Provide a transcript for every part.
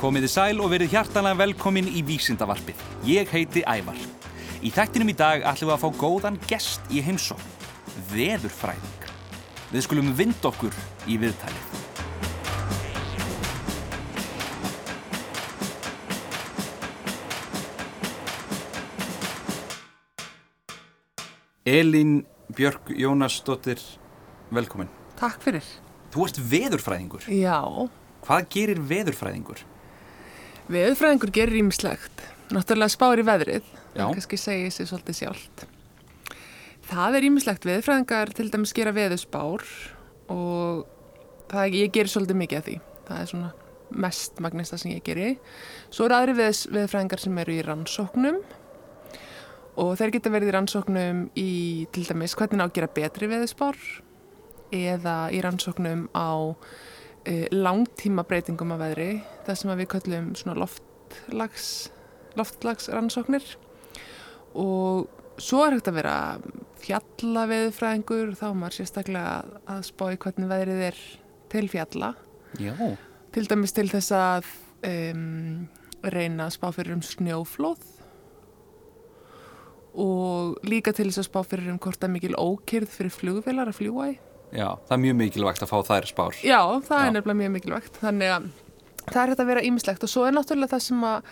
Komiði sæl og verið hjartanlega velkomin í Vísindavarpið. Ég heiti Ævar. Í þættinum í dag ætlum við að fá góðan gest í heimsókn. Veðurfræðing. Við skulum vinda okkur í viðtalið. Elín Björk Jónasdóttir, velkomin. Takk fyrir. Þú ert veðurfræðingur. Já, Hvað gerir veðurfræðingur? veðurfræðingur gerir ímislegt. Náttúrulega spáir í veðrið, Já. en kannski segja sér svolítið sjálft. Það er ímislegt. Veðurfræðingar til dæmis gera veðurspár og það, ég gerir svolítið mikið af því. Það er svona mest magnista sem ég geri. Svo eru aðri veðs, veðurfræðingar sem eru í rannsóknum og þeir geta verið í rannsóknum í til dæmis hvernig á að gera betri veðurspár eða í rannsóknum á eh, langtíma breytingum af veðri, það sem að við köllum svona loftlags, loftlagsrannsóknir og svo er hægt að vera fjallaveðurfræðingur og þá er maður sérstaklega að- að spá í hvernig veðrið er til fjalla Já. til dæmis til þess að um, reyna að spá fyrir um snjóflóð og líka til þess að spá fyrir um hvort að mikil ókyrð fyrir flugvélar að fljúa í Já, það er mjög mikilvægt að fá þær spár. Já, það Já. er nefnilega mjög mikilvægt. Þannig að það er hægt að vera ímislegt og svo er náttúrulega það sem að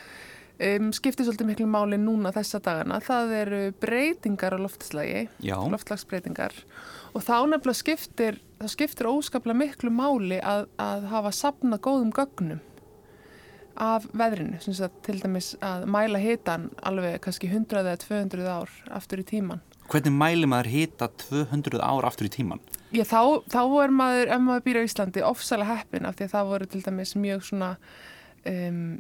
um, skiptir svolítið miklu máli núna þessa dagana. Það eru breytingar á loftslagi, Já. loftslagsbreytingar og þá nefnilega skiptir, þá skiptir óskaplega miklu máli að, að hafa sapna góðum gögnum af veðrinu, sem sagt til dæmis að mæla hitan alveg kannski 100 eða 200 ár aftur í tíman. Hvernig mæli maður hita 200 ár aftur í tíman? Já, þá, þá er maður, ef maður býr á Íslandi, ofsalega heppin af því að það voru til dæmis mjög svona, um,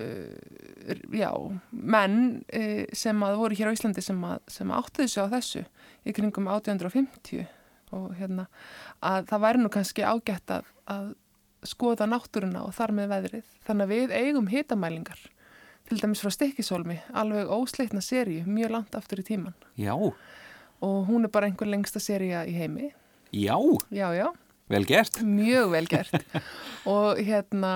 uh, já, menn uh, sem að voru hér á Íslandi sem að, sem að áttuðu sig á þessu í kringum 1850 og hérna að það væri nú kannski ágætt að, að skoða náttúruna og þar með veðrið. Þannig að við eigum hitamælingar, til dæmis frá stikkisólmi, alveg ósleitna seríu, mjög langt aftur í tíman Já, og hún er bara einhver lengsta seríu í heimi. já, Já, já, vel gert. mjög vel gert. og hérna,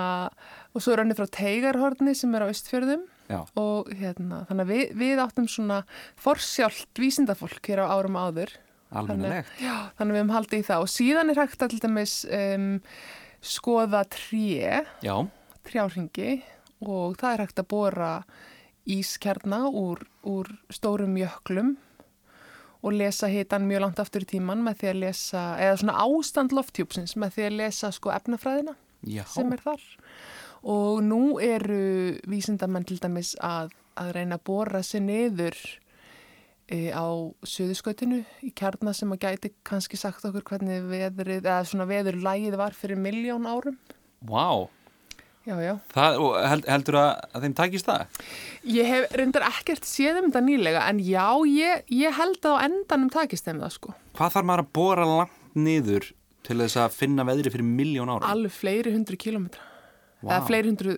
og svo er hann frá Teigarhorni sem er á Ístfjörðum Já, og hérna, þannig að við, við áttum svona forsjált vísindafólk hér á árum áður. almennilegt. Þannig, já, þannig að við höfum haldið í það og síðan er hægt að til dæmis um, skoða tré, Já, trjárhingi og það er hægt að bóra ískjarna úr, úr stórum jöklum og lesa hitan mjög langt aftur í tíman með því að lesa, eða svona ástand loftjúpsins með því að lesa sko efnafræðina já, sem er þar. Og nú eru vísindamenn til dæmis að, að reyna að bóra sér niður e, á söðuskautinu í kjarna sem að gæti kannski sagt okkur hvernig veðrið, eða svona veðurlægið var fyrir miljón árum. vá. Já, já. Það, og held, heldur að, að þeim takist það? Ég hef reyndar ekkert séð um þetta nýlega en já, ég, ég held að á endanum takist þeim það sko. Hvað þarf maður að bora langt niður til þess að finna veðri fyrir miljón ára? Alveg fleiri hundru kílómetra. Vá. Eða fleiri hundru,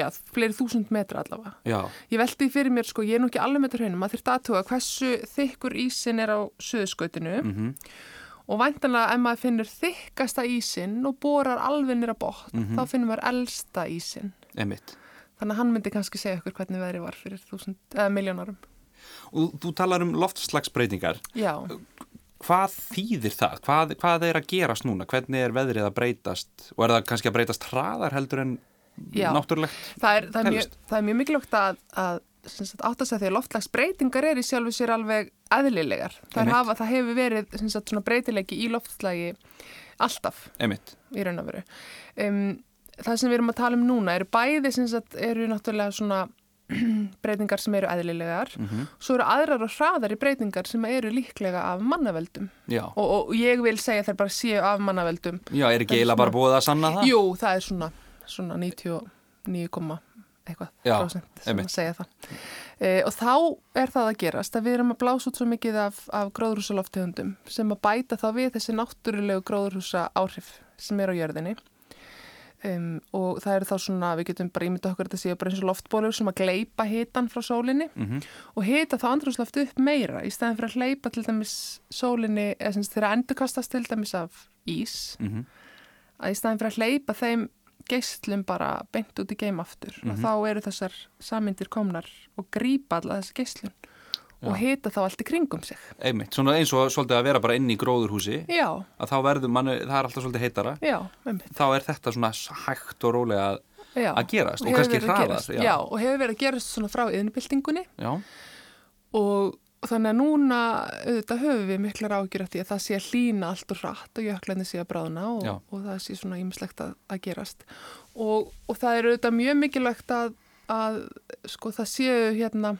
já, fleiri þúsund metra allavega. Já, Ég veldi því fyrir mér sko, ég er nú ekki alveg með þetta hraunum, maður þurfti aðtuga hversu þykkur ísin er á söðuskautinu og væntanlega ef maður finnur þykkasta ísin og borar alveg nýra bótt, þá finnur maður elsta ísin. emitt. Þannig að hann myndi kannski segja okkur hvernig veðri var fyrir þúsund, eða miljónarum. Og þú talar um loftslagsbreytingar. Já. Hvað þýðir það? Hvað, hvað er að gerast núna? Hvernig er veðrið að breytast? Og er það kannski að breytast hraðar heldur en Já. náttúrulegt? það er, það er, mjög, Telst. það er mjög mikilvægt að, að sem sagt, átta sig að því að loftlagsbreytingar er í sjálfu sér alveg eðlilegar. Það, Einmitt. hafa, það hefur verið sem sagt, svona breytilegi í loftslagi alltaf Emitt. í raun og veru. Um, það sem við erum að tala um núna eru bæði sem sagt, eru náttúrulega svona breytingar sem eru eðlilegar, svo eru aðrar og hraðari breytingar sem eru líklega af mannaveldum Já. og, og ég vil segja þær bara séu af mannaveldum Já, er ekki eiginlega bara búið að sanna það? Jú, það er svona, svona 99, komma eitthvað Já, prósent sem einmitt. að segja það. E, og þá er það að gerast að við erum að blása út svo mikið af, af gróðrúsaloftegundum sem að bæta þá við þessi náttúrulegu gróðrúsa áhrif sem er á jörðinni. Um, og það eru þá svona, við getum bara ímynda okkur að þetta séu bara eins og loftbólur sem að gleipa hitan frá sólinni Mhm, og hita þá andrúsloft upp meira í stæðan fyrir að hleypa til dæmis sólinni, eða sem sagt þegar endurkastast til dæmis af ís, Mhm. að í staðin fyrir að hleypa þeim geislum bara beint út í geim aftur og Mhm. þá eru þessar samindir komnar og grípa alla þessi geislun og hita þá allt í kringum sig. einmitt, svona eins og svolítið að vera bara inn í gróðurhúsi Já, að þá verður manni, það er alltaf svolítið heitara já, einmitt. þá er þetta svona hægt og rólega að, Já. að gerast og Hefur kannski verið að hraðar gerast, Já, og hefur verið að gerast svona frá yðnbyltingunni já, og þannig að núna auðvitað höfum við miklar ágjur að því að það sé að hlýna allt og hratt og jöklarnir sé að bráðna og, Já. og það sé svona ímislegt að, að gerast og, og það er auðvitað mjög mikilvægt að, að sko það séu hérna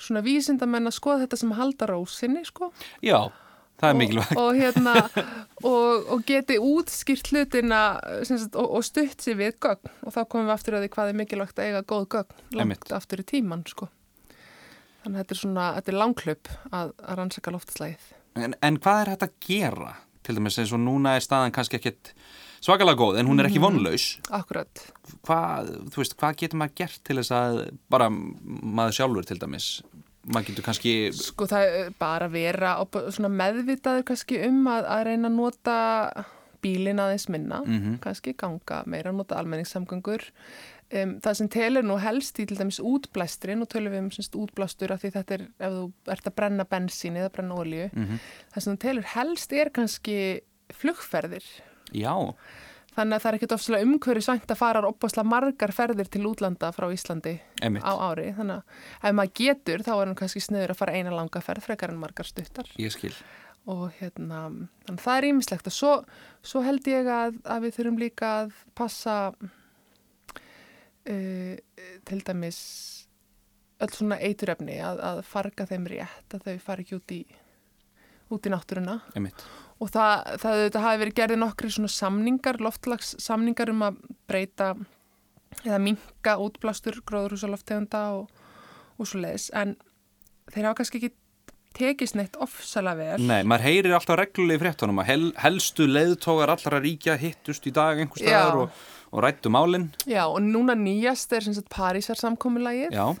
svona vísindamenn að skoða þetta sem halda rósinni sko já, það er mikilvægt og, og hérna og, og geti útskýrt hlutina sem sagt, og, og stutt sér við gögn og þá komum við aftur að því hvað er mikilvægt að eiga góð gögn langt Einmitt. aftur í tíman sko. þannig að þetta er svona, þetta er langklöp að, að rannsaka loftslægið En, en hvað er hægt að gera? Til dæmis eins og núna er staðan kannski ekkit svakalega góð en hún er Mhm. ekki vonlaus. akkurat, Hvað, þú veist, hvað getur maður gert til þess að bara maður sjálfur til dæmis? Maður getur kannski, sko það er bara að vera og bara svona meðvitaður kannski um að, að reyna að nota bílin aðeins minna, kannski ganga meira, nota almenningssamgöngur um, það sem telur nú helst í til dæmis útblæstrin og tölum við um semst, útblástur af því þetta er, ef þú ert að brenna bensín eða brenna olju, það sem telur helst er kannski flugferðir já, þannig að það er ekkit ofslega umhverju svænt að fara opaslega margar ferðir til útlanda frá Íslandi Einmitt. á ári, þannig að ef maður getur þá er hann kannski sniður að fara eina langa ferð frekar en margar stuttar ég skil. og hérna, þannig að það er ýmislegt og svo, svo held ég að, að við þurfum líka að passa uh, til dæmis öll svona eiturefni að, að farga þeim rétt að þau fari ekki út í, út í náttúruna Einmitt. og það, það þetta hafi verið gerðið nokkri svona samningar, loftlags samningar um að breyta eða minka útblástur gróðurhúsaloftegunda og, og svo leiðis en þeir hafa kannski ekki tekist neitt ofsalega vel Nei, maður heyrir alltaf reglulegi fréttunum að hel, helstu leiðtógar allra ríkja hittust í dag einhvers Já. staðar og, og rættu málinn. Já, og núna nýjast er sem sagt Parísarsamkommulagið. Já,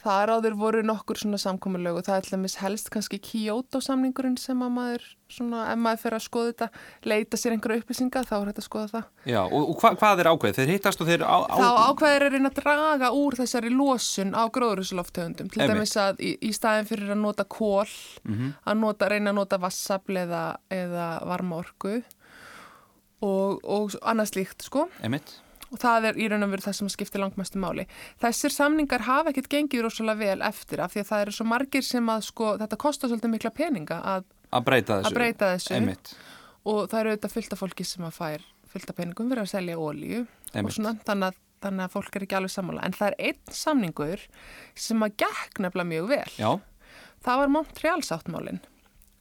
Þar áður voru nokkur svona samkommulög og það er allmis helst kannski Kyoto-samningurinn sem að maður, svona, ef maður fer að skoða þetta, leita sér einhverja upplýsinga, þá er hægt að skoða það. já, og, og hva, hvað er ákveðið? Þeir hittast og þeir á... á Þá ákveðir er einn að draga úr þessari losun á gróðurhúsloftöfundum, til Einmitt. dæmis að í, í staðin fyrir að nota kól, að nota, reyna að nota vassafl eða, eða varmaorku og, og annað slíkt, sko. Einmitt. og það er í raun og veru það sem skiptir langmestu máli. Þessir samningar hafa ekkert gengið rosalega vel eftir af því að það eru svo margir sem að sko, þetta kostar svolítið mikla peninga að, Að breyta þessu. að breyta þessu Einmitt. og það eru auðvitað fullt af fólki sem að fær fullt af peningum fyrir að selja ólíu og Einmitt. svona þannig að, þannig að fólk er ekki alveg sammála. En það er einn samningur sem að gekk nefnilega mjög vel. Já, Það var Montreal sáttmálinn.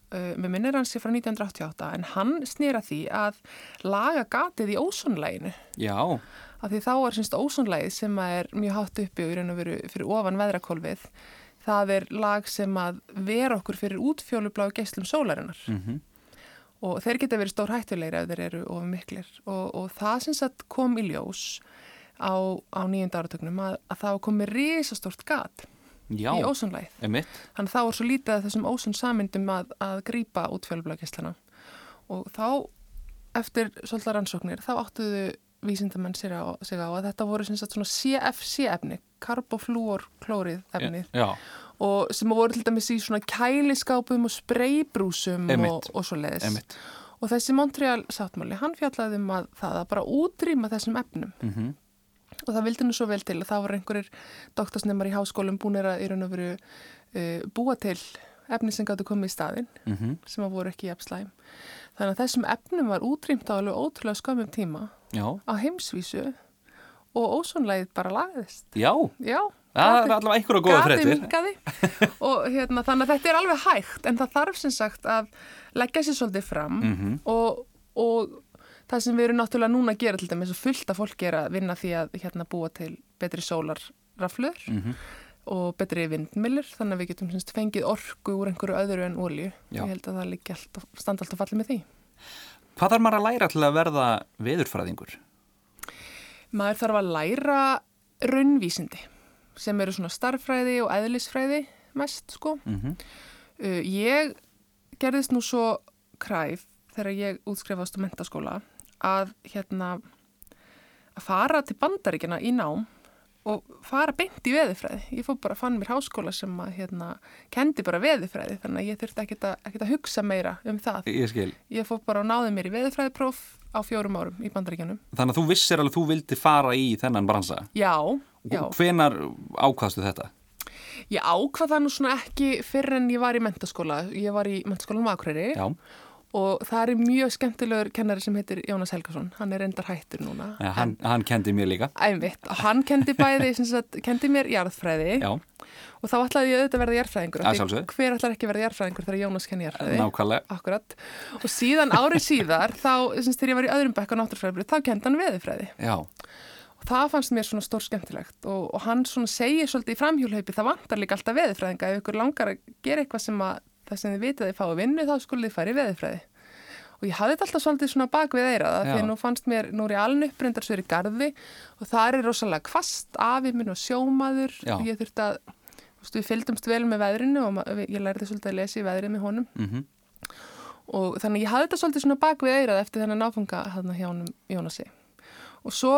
Uh, mér minnir hans sér frá 1988 en hann snýra því að laga gatið í ósónleginu já. af því þá er semst ósónlægið sem að er mjög hátt uppi og í raun og veru fyrir ofan veðrakolfið það er lag sem að vera okkur fyrir útfjólubláu geislum sólarinnar Mhm. og þeir geta verið stór hættulegri ef þeir eru ofan miklir og, og það sem sagt kom í ljós á, á nýjönda áratögnum að, að það komi risastórt gat Já, í ósónlægið einmitt. Þannig að þá er svo lítið að þessum ósum samyndum að, að grípa út fjölblagkesslana. Og þá, eftir svolítið rannsóknir, þá áttuðu vísindamenn sig á, sig á að þetta voru sem sagt svona CFC-efni, karboflúorklórið efnið, Já, og sem voru til dæmis í svona kæliskápum og spreybrúsum og, Einmitt. og svo leiðis. einmitt. Og þessi Montreal sáttmáli, hann fjallaði um að það að bara útrýma þessum efnum. Mhm. Og það vildi nú svo vel til að það var einhverjir doktorsnemar í háskólum búinir að í raun og veru uh, búa til efni sem gáttu komið í staðinn Mhm. sem að voru ekki jafn slæm. Þannig að þessum efnum var útrýmt á alveg ótrúlega skömmum tíma Já, á heimsvísu og ósónlegið bara lagðist. já, Já, það gatið- er allavega einhverja góða fréttir. minkaði og hérna, þannig að þetta er alveg hægt en það þarf sem sagt að leggja sér svolítið fram Mhm. og, og það sem við erum náttúrulega núna að gera til dæmis og fullt af fólki er að vinna því að hérna, búa til betri sólarraflur Mhm. og betri vindmillur þannig að við getum semst fengið orku úr einhverju öðru en olju. Já. Ég held að það liggi allt, og- standa allt og falli með því. Hvað þarf maður að læra til að verða veðurfræðingur? Maður þarf að læra raunvísindi sem eru svona starffræði og eðlisfræði mest sko. Mm Uh, ég gerðist nú svo kræf þegar ég útskrefast á mentaskóla að hérna að að fara til bandaríkjana í nám og fara beint í veðifræði. Ég fór bara fann mér háskóla sem að hérna kendi bara veðifræði þannig að ég þurfti ekkert að, ekkert að hugsa meira um það. Ég skil. Ég fór bara og náði mér í veðifræðipróf á fjórum árum í bandaríkjanum. Þannig að þú vissir alveg að þú vildi fara í þennan bransa. Já, já. Hvenar ákvaðstu þetta? Ég ákvað það nú svona ekki fyrir en ég var í mentaskóla. Ég var í mentaskólanum á Akureyri Já. og það er mjög skemmtilegur kennari sem heitir Jónas Helgason. Hann er endar hættur núna. Ja, hann, hann kendi mér líka. Æmitt, og hann kendi bæði, sem sagt, kendi mér jarðfræði Já, og þá ætlaði ég auðvitað að verða jarðfræðingur. Að af því sjálfsögðu. Hver ætlar ekki að verða jarðfræðingur þegar Jónas kenni jarðfræði? nákvæmlega. Akkurat. Og síðan árið síðar, þá, sem sagt, þegar ég var í öðrum bekk á náttúrfræðibrið, þá kendi hann veðifræði. Já, Og það fannst mér svona stór skemmtilegt og, og hann svona segir svolítið í framhjólhaupi, það vantar líka alltaf veðifræðinga. Ef ykkur langar að gera eitthvað sem að það sem þið vitið að þið fáið vinnu, þá skulle þið fara í veðifræði. Og ég hafði þetta alltaf svolítið svona bak við eirað af því Já. að nú fannst mér, nú er ég alveg upprindar svo er í garði og það er rosalega kvast, afi minn og sjómaður Já. og ég þurfti að, þú veist, við fylgdumst vel með veðrinu og ma- ég lærði svolítið að lesa í veðrið með honum mm og þannig að ég hafði þetta svolítið svona bak við eirað eftir þennan áfanga hérna hjá honum Jónasi og svo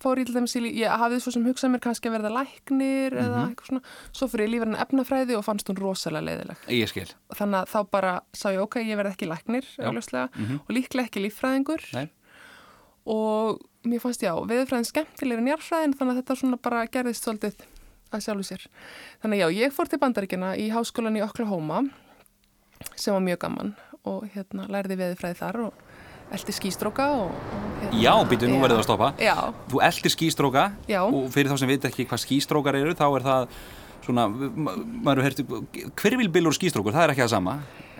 fór ég til dæmis í, lí- ég hafði svo sem hugsað mér kannski að verða læknir eða eitthvað svona, svo fór ég lífarinn efnafræði og fannst hún rosalega leiðileg ég skil. þannig að þá bara sá ég ok, ég verð ekki læknir augljóslega, og líklega ekki líffræðingur Nei. og mér fannst já, veðurfræðin skemmtilegur en jarðfræðin þannig að þetta svona bara gerðist svolítið að sjálfu sér. Þannig að já, ég fór til bandaríkina í háskólan í Oklahoma sem var mjög gaman og hérna lærði veðurfræði þar og eldi skýstróka og, og hérna, Já, býtu, nú Já. verður það að stoppa. Já, Þú eldir skýstróka Já. og fyrir þá sem veit ekki hvað skýstrókar eru, þá er það svona, ma- maður hefði, hvirvilbillur og skýstrókur, það er ekki það sama.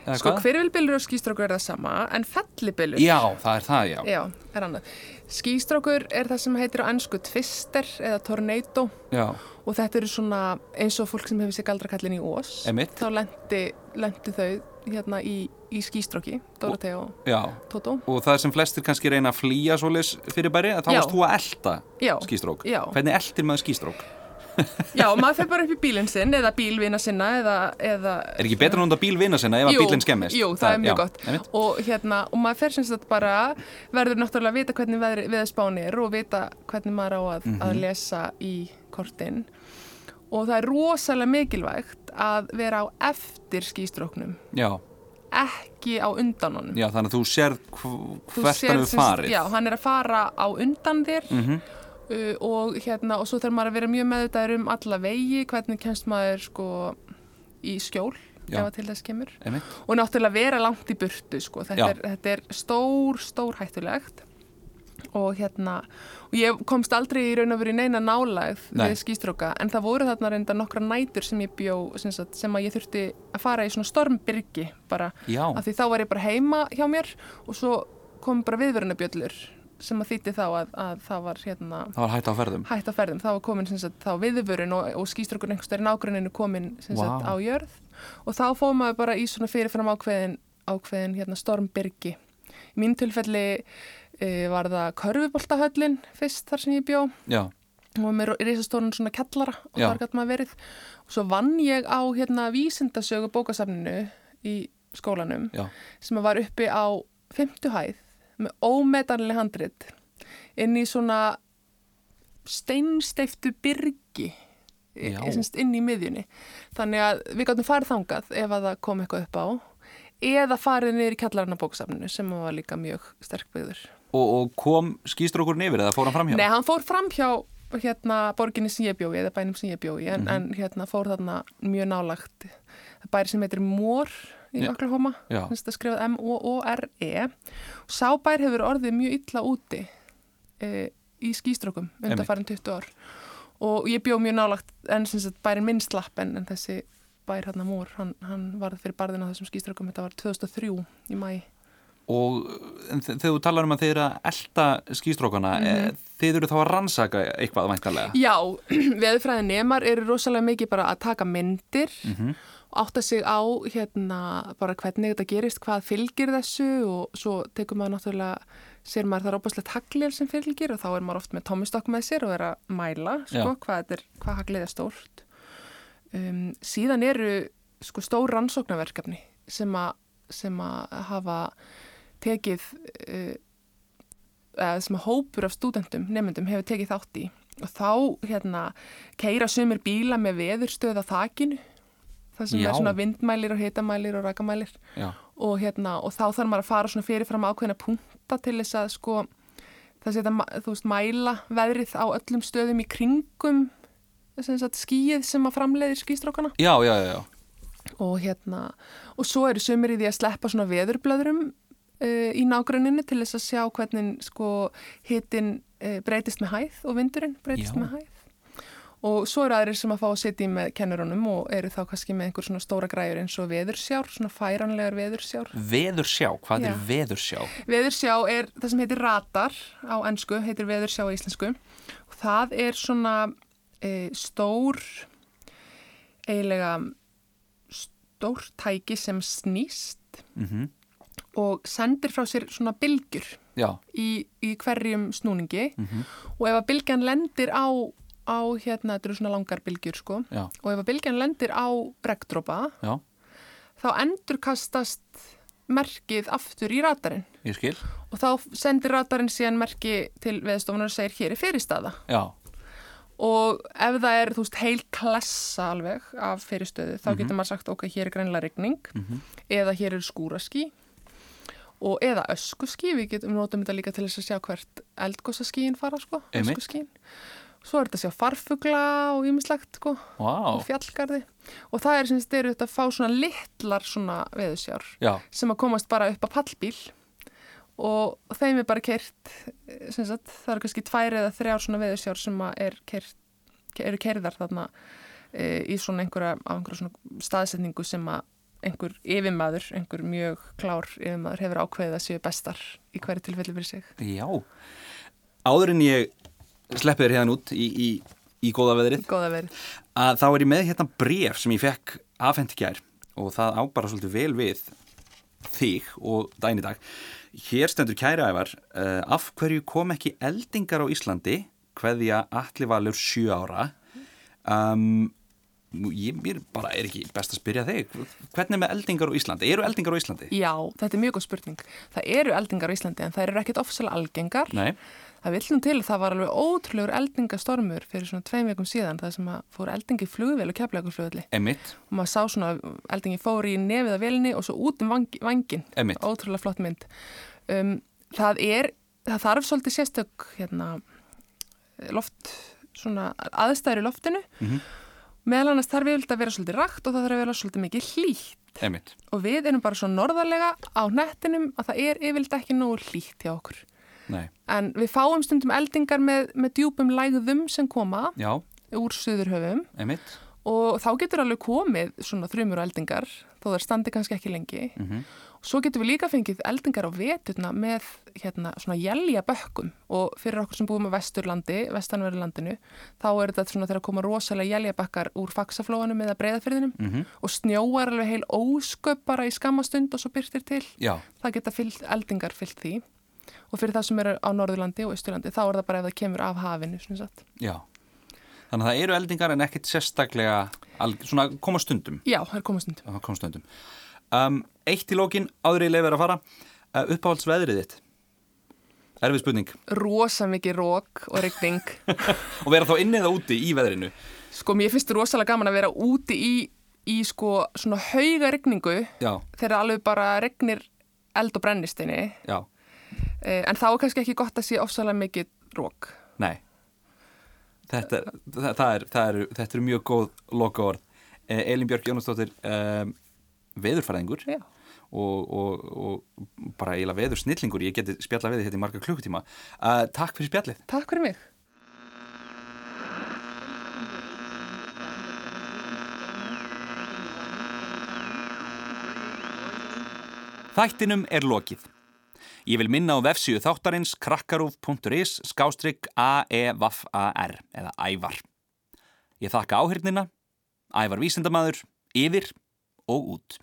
eða sko hvað? hverfilbylur og skýstrókur er það sama en fellibylur Já, það er það, já. Já, er annað. Skýstrókur er það sem heitir á ennsku twister eða tornado Já, og þetta eru svona eins og fólk sem hefur sér galdrakallin í Ós Einmitt. þá lendi, lendi þau hérna í, í skýstróki Dorotea og já. Toto Og það sem flestir kannski reyna að flýja svoleiðs fyrir bæri, þá Já. varst þú að elda Já. skýstrók. Já. Hvernig eldir maður skýstrók? Já, maður fer bara upp í bílinn sinn eða bílvina sinna eða, eða Er ekki betra að nota bíl vina sinna ef að Jú, bílinn skemmist? Jú, það er mjög já, einmitt. gott og, hérna, og maður fer sem sagt bara verður náttúrulega að vita hvernig veðri- veðurspáin er og vita hvernig maður á að, Mhm. að lesa í kortin og það er rosalega mikilvægt að vera á eftir skýstróknum Já, ekki á undan honum já, þannig að þú sérð hv- Þú hvert sérð hann hefur sem sagt- farið. Mhm. Já, hann er að fara á undan þér uh, og hérna, og svo þarf maður að vera mjög meðutæður um alla vegi, hvernig kemst maður sko í skjól Já. ef að til þess kemur Einmitt. og náttúrulega vera langt í burtu sko, Já. þetta, er, þetta er stór, stór hættulegt og hérna, og ég komst aldrei í raun og verið neina nálægð Nei. við skýstróka en það voru þarna reynda nokkra nætur sem ég bjó, sem, sagt, sem að ég þurfti að fara í svona stormbyrgi bara Já. af því þá var ég bara heima hjá mér og svo kom bara viðverunabjöllur sem að þýtti þá að, að það var hérna Það var hægt á ferðum. hætt á ferðum, þá var komin sem sagt, þá viðvörun og, og skýströkkur einhvers staðar í nágruninu komin sem Vá. sagt, á jörð og þá fóðum maður bara í svona fyrirfram ákveðin, ákveðin hérna, stormbyrgi. Í mín tilfelli e, var það körfuboltahöllin fyrst þar sem ég bjó Já, og með risastórun svona kellara og Já. þar gætt maður verið og svo vann ég á hérna, vísindasögu bókasafninu í skólanum já. sem var uppi á 50 hæð með ómetanlega handrit inn í svona steinsteiftu byrgi Já. semst, inn í miðjunni þannig að við gáttum farið þangað ef að það kom eitthvað upp á eða farið niður í kjallarna bóksafninu sem var líka mjög sterkbyggður Og, og kom skýstrókurinn yfir eða fór hann framhjá? Nei, hann fór fram hjá hérna, borginni sem ég bjói eða bænum sem ég bjói Mhm. en, en hérna, fór þarna mjög nálagt bæri sem heitir Mór í Já. Oklahoma Já. Þess að skrifað M-O-O-R-E og E. sá bær hefur orðið mjög illa úti e, í skýstrókum undan farin 20 ár og ég bjó mjög nálagt en sem sagt bærin minn slapp en, en þessi bær hérna Mór, hann, hann varð fyrir barðin á þessum skýstrókum, þetta var 2003 í mæi Og en þe- þegar þú talar um að þið eru að elda skýstrókana, mm Mhm. þið eru þá að rannsaka eitthvað væntanlega? Já, veðurfræði nemar eru rosalega mikið bara að taka myndir og átta sig á hérna bara hvernig þetta gerist, hvað fylgir þessu og svo tekur maður náttúrulega sér maður það rópaslegt haglið sem fylgir og þá er maður oft með tommustokk með sér og er að mæla sko, Já. hvað, þetta er, hvað haglið er stórt. Um, síðan eru sko stór rannsóknarverkefni eh, sem að sem að hafa tekið uh, eða sem að hópur af stúdendum, nefndum, hefur tekið þátt í og þá hérna keira sömur bíla með veðurstöð á þakinu það sem Já. er svona vindmælir og hitamælir og rakamælir Já. og, hérna, og þá þarf maður að fara svona fyrirfram ákveðina punta til þess að sko það setja, ma- þú veist, mæla veðrið á öllum stöðum í kringum sem sagt, skíið sem að framleiðir skístrókana Já, já, já, já. og hérna og svo eru sömur í því að sleppa svona veðurblöðrum uh, í nágruninu til þess að sjá hvernig sko hitin uh, breytist með hæð og vindurinn breytist Já. með hæð og svo eru aðrir sem að fá að sitja í með kennurunum og eru þá kannski með einhver svona stóra græjur eins og veðursjár, svona færanlegar veðursjár Veðursjá, hvað Já. er veðursjá? Veðursjá er það sem heitir radar á ennsku, heitir veðursjá á íslensku og það er svona e, stór eiginlega stór tæki sem snýst Mm og sendir frá sér svona bylgjur Já, í, í hverjum snúningi og ef að bylgjan lendir á, á hérna, þetta eru svona langar bylgjur sko já, og ef að bylgjan lendir á regndrópa já, þá endurkastast merkið aftur í radarinn ég skil. og þá sendir radarinn síðan merki til veðstofunar og segir hér er fyrirstaða Já, og ef það er þú veist heil klessa alveg af fyrirstöðu þá Mhm. getur maður sagt ok, hér er greinlega rigning eða hér eru skúraskí og eða öskuskí við getum notum þetta líka til þess að sjá hvert eldgósaskíin fara sko, Einmitt. öskuskíin svo er þetta að sjá farfugla og ýmislegt sko, vá, og fjallgarði og það er sem þetta eru þetta að fá svona litlar svona veðusjár já, sem að komast bara upp á pallbíl og þeim er bara kert sem sagt, það eru kannski tvær eða þrjár svona veðursjár sem að er kert, eru kerðar þarna e, í svona einhverja, á einhverja svona staðsetningu sem að einhver yfirmaður, einhver mjög klár yfirmaður hefur ákveðið að séu bestar í hverju tilfelli fyrir sig. já, Áður en ég sleppi þér hérna út í, í, í góða veðrið, Góða verið. að þá er ég með hérna bref sem ég fekk afhent í gær og það á bara svolítið vel við þig og dæn í dag. Hér stendur kæra ævar, uh, af hverju kom ekki eldingar á Íslandi, hverðja Atli Valur sjö ára? Um, ég mér bara er ekki best að spyrja þig, hvernig er með eldingar á Íslandi? Eru eldingar á Íslandi? Já, þetta er mjög góð spurning. Það eru eldingar á Íslandi en það eru ekkert ofsalega algengar. Nei, Það vill nú til að það var alveg ótrúlegur eldingastormur fyrir svona tveim vikum síðan það sem að fór eldingi flugvél og keflaugurflugvelli emitt, og maður sá svona að eldingi fór í nefið af velinni og svo út um vangi, vangin. Einmitt. Ótrúlega flott mynd. Um, það er, það þarf svolítið sérstök hérna, loft, svona aðstæður í loftinu. Meðal annars þarf yfirleitt að vera svolítið rakt og það þarf að vera svolítið mikið hlýtt emitt. og við erum bara svo norðarlega á hnettinum að það er yfirleitt ekki nógu hlýtt hjá okkur. Nei, En við fáum stundum eldingar með, með djúpum lægðum sem koma já, úr suðurhöfum emitt, og þá getur alveg komið svona þrjumur og eldingar þó það standi kannski ekki lengi. Mm -hmm. Svo getum við líka fengið eldingar á veturna með hérna, svona jælja bökkum og fyrir okkur sem búum á vesturlandi, vestanverðu landinu, þá er þetta svona þegar koma rosalega jælja bökkar úr faksaflóanum eða breyðafyrðinum og snjóar alveg heil ósköp bara í skammastund og svo byrtir til já, það geta fyllt, eldingar fyllt því og fyrir það sem eru á Norðurlandi og Ísturlandi þá er það bara ef það kemur af hafinu svona satt. já. Þannig að það eru eldingar en ekkert sérstaklega, alg- svona koma stundum. Já, það er komastund. á komstöndum um, Eitt í lókin, áður í leifir að fara uh, uppáhaldsveðrið þitt Erfið spurning Rosa mikið rók og rigning. og vera þá inni eða úti í veðrinu sko, mér finnst rosalega gaman að vera úti í, í sko svona hauga rigningu Já, þegar alveg bara regnir eld og brennistinni já, eh, en þá er kannski ekki gott að sé ofsalega mikið rók. nei Þetta, það, það er, það er, þetta er mjög góð lokaorð eh, Elin Björk Jónasdóttir um, veðurfæðingur Já. og, og, og bara eiginlega veðursnillingur ég geti spjalla við þig hérna í marga klukkutíma uh, Takk fyrir spjallið Takk fyrir mig. Þættinum er lokið. Ég vil minna á vefsíu þáttarins krakkarúf.is skástrygg E AEVAFAR eða ævar. Ég þakka áhyrnina, ævar vísindamaður, yfir og út.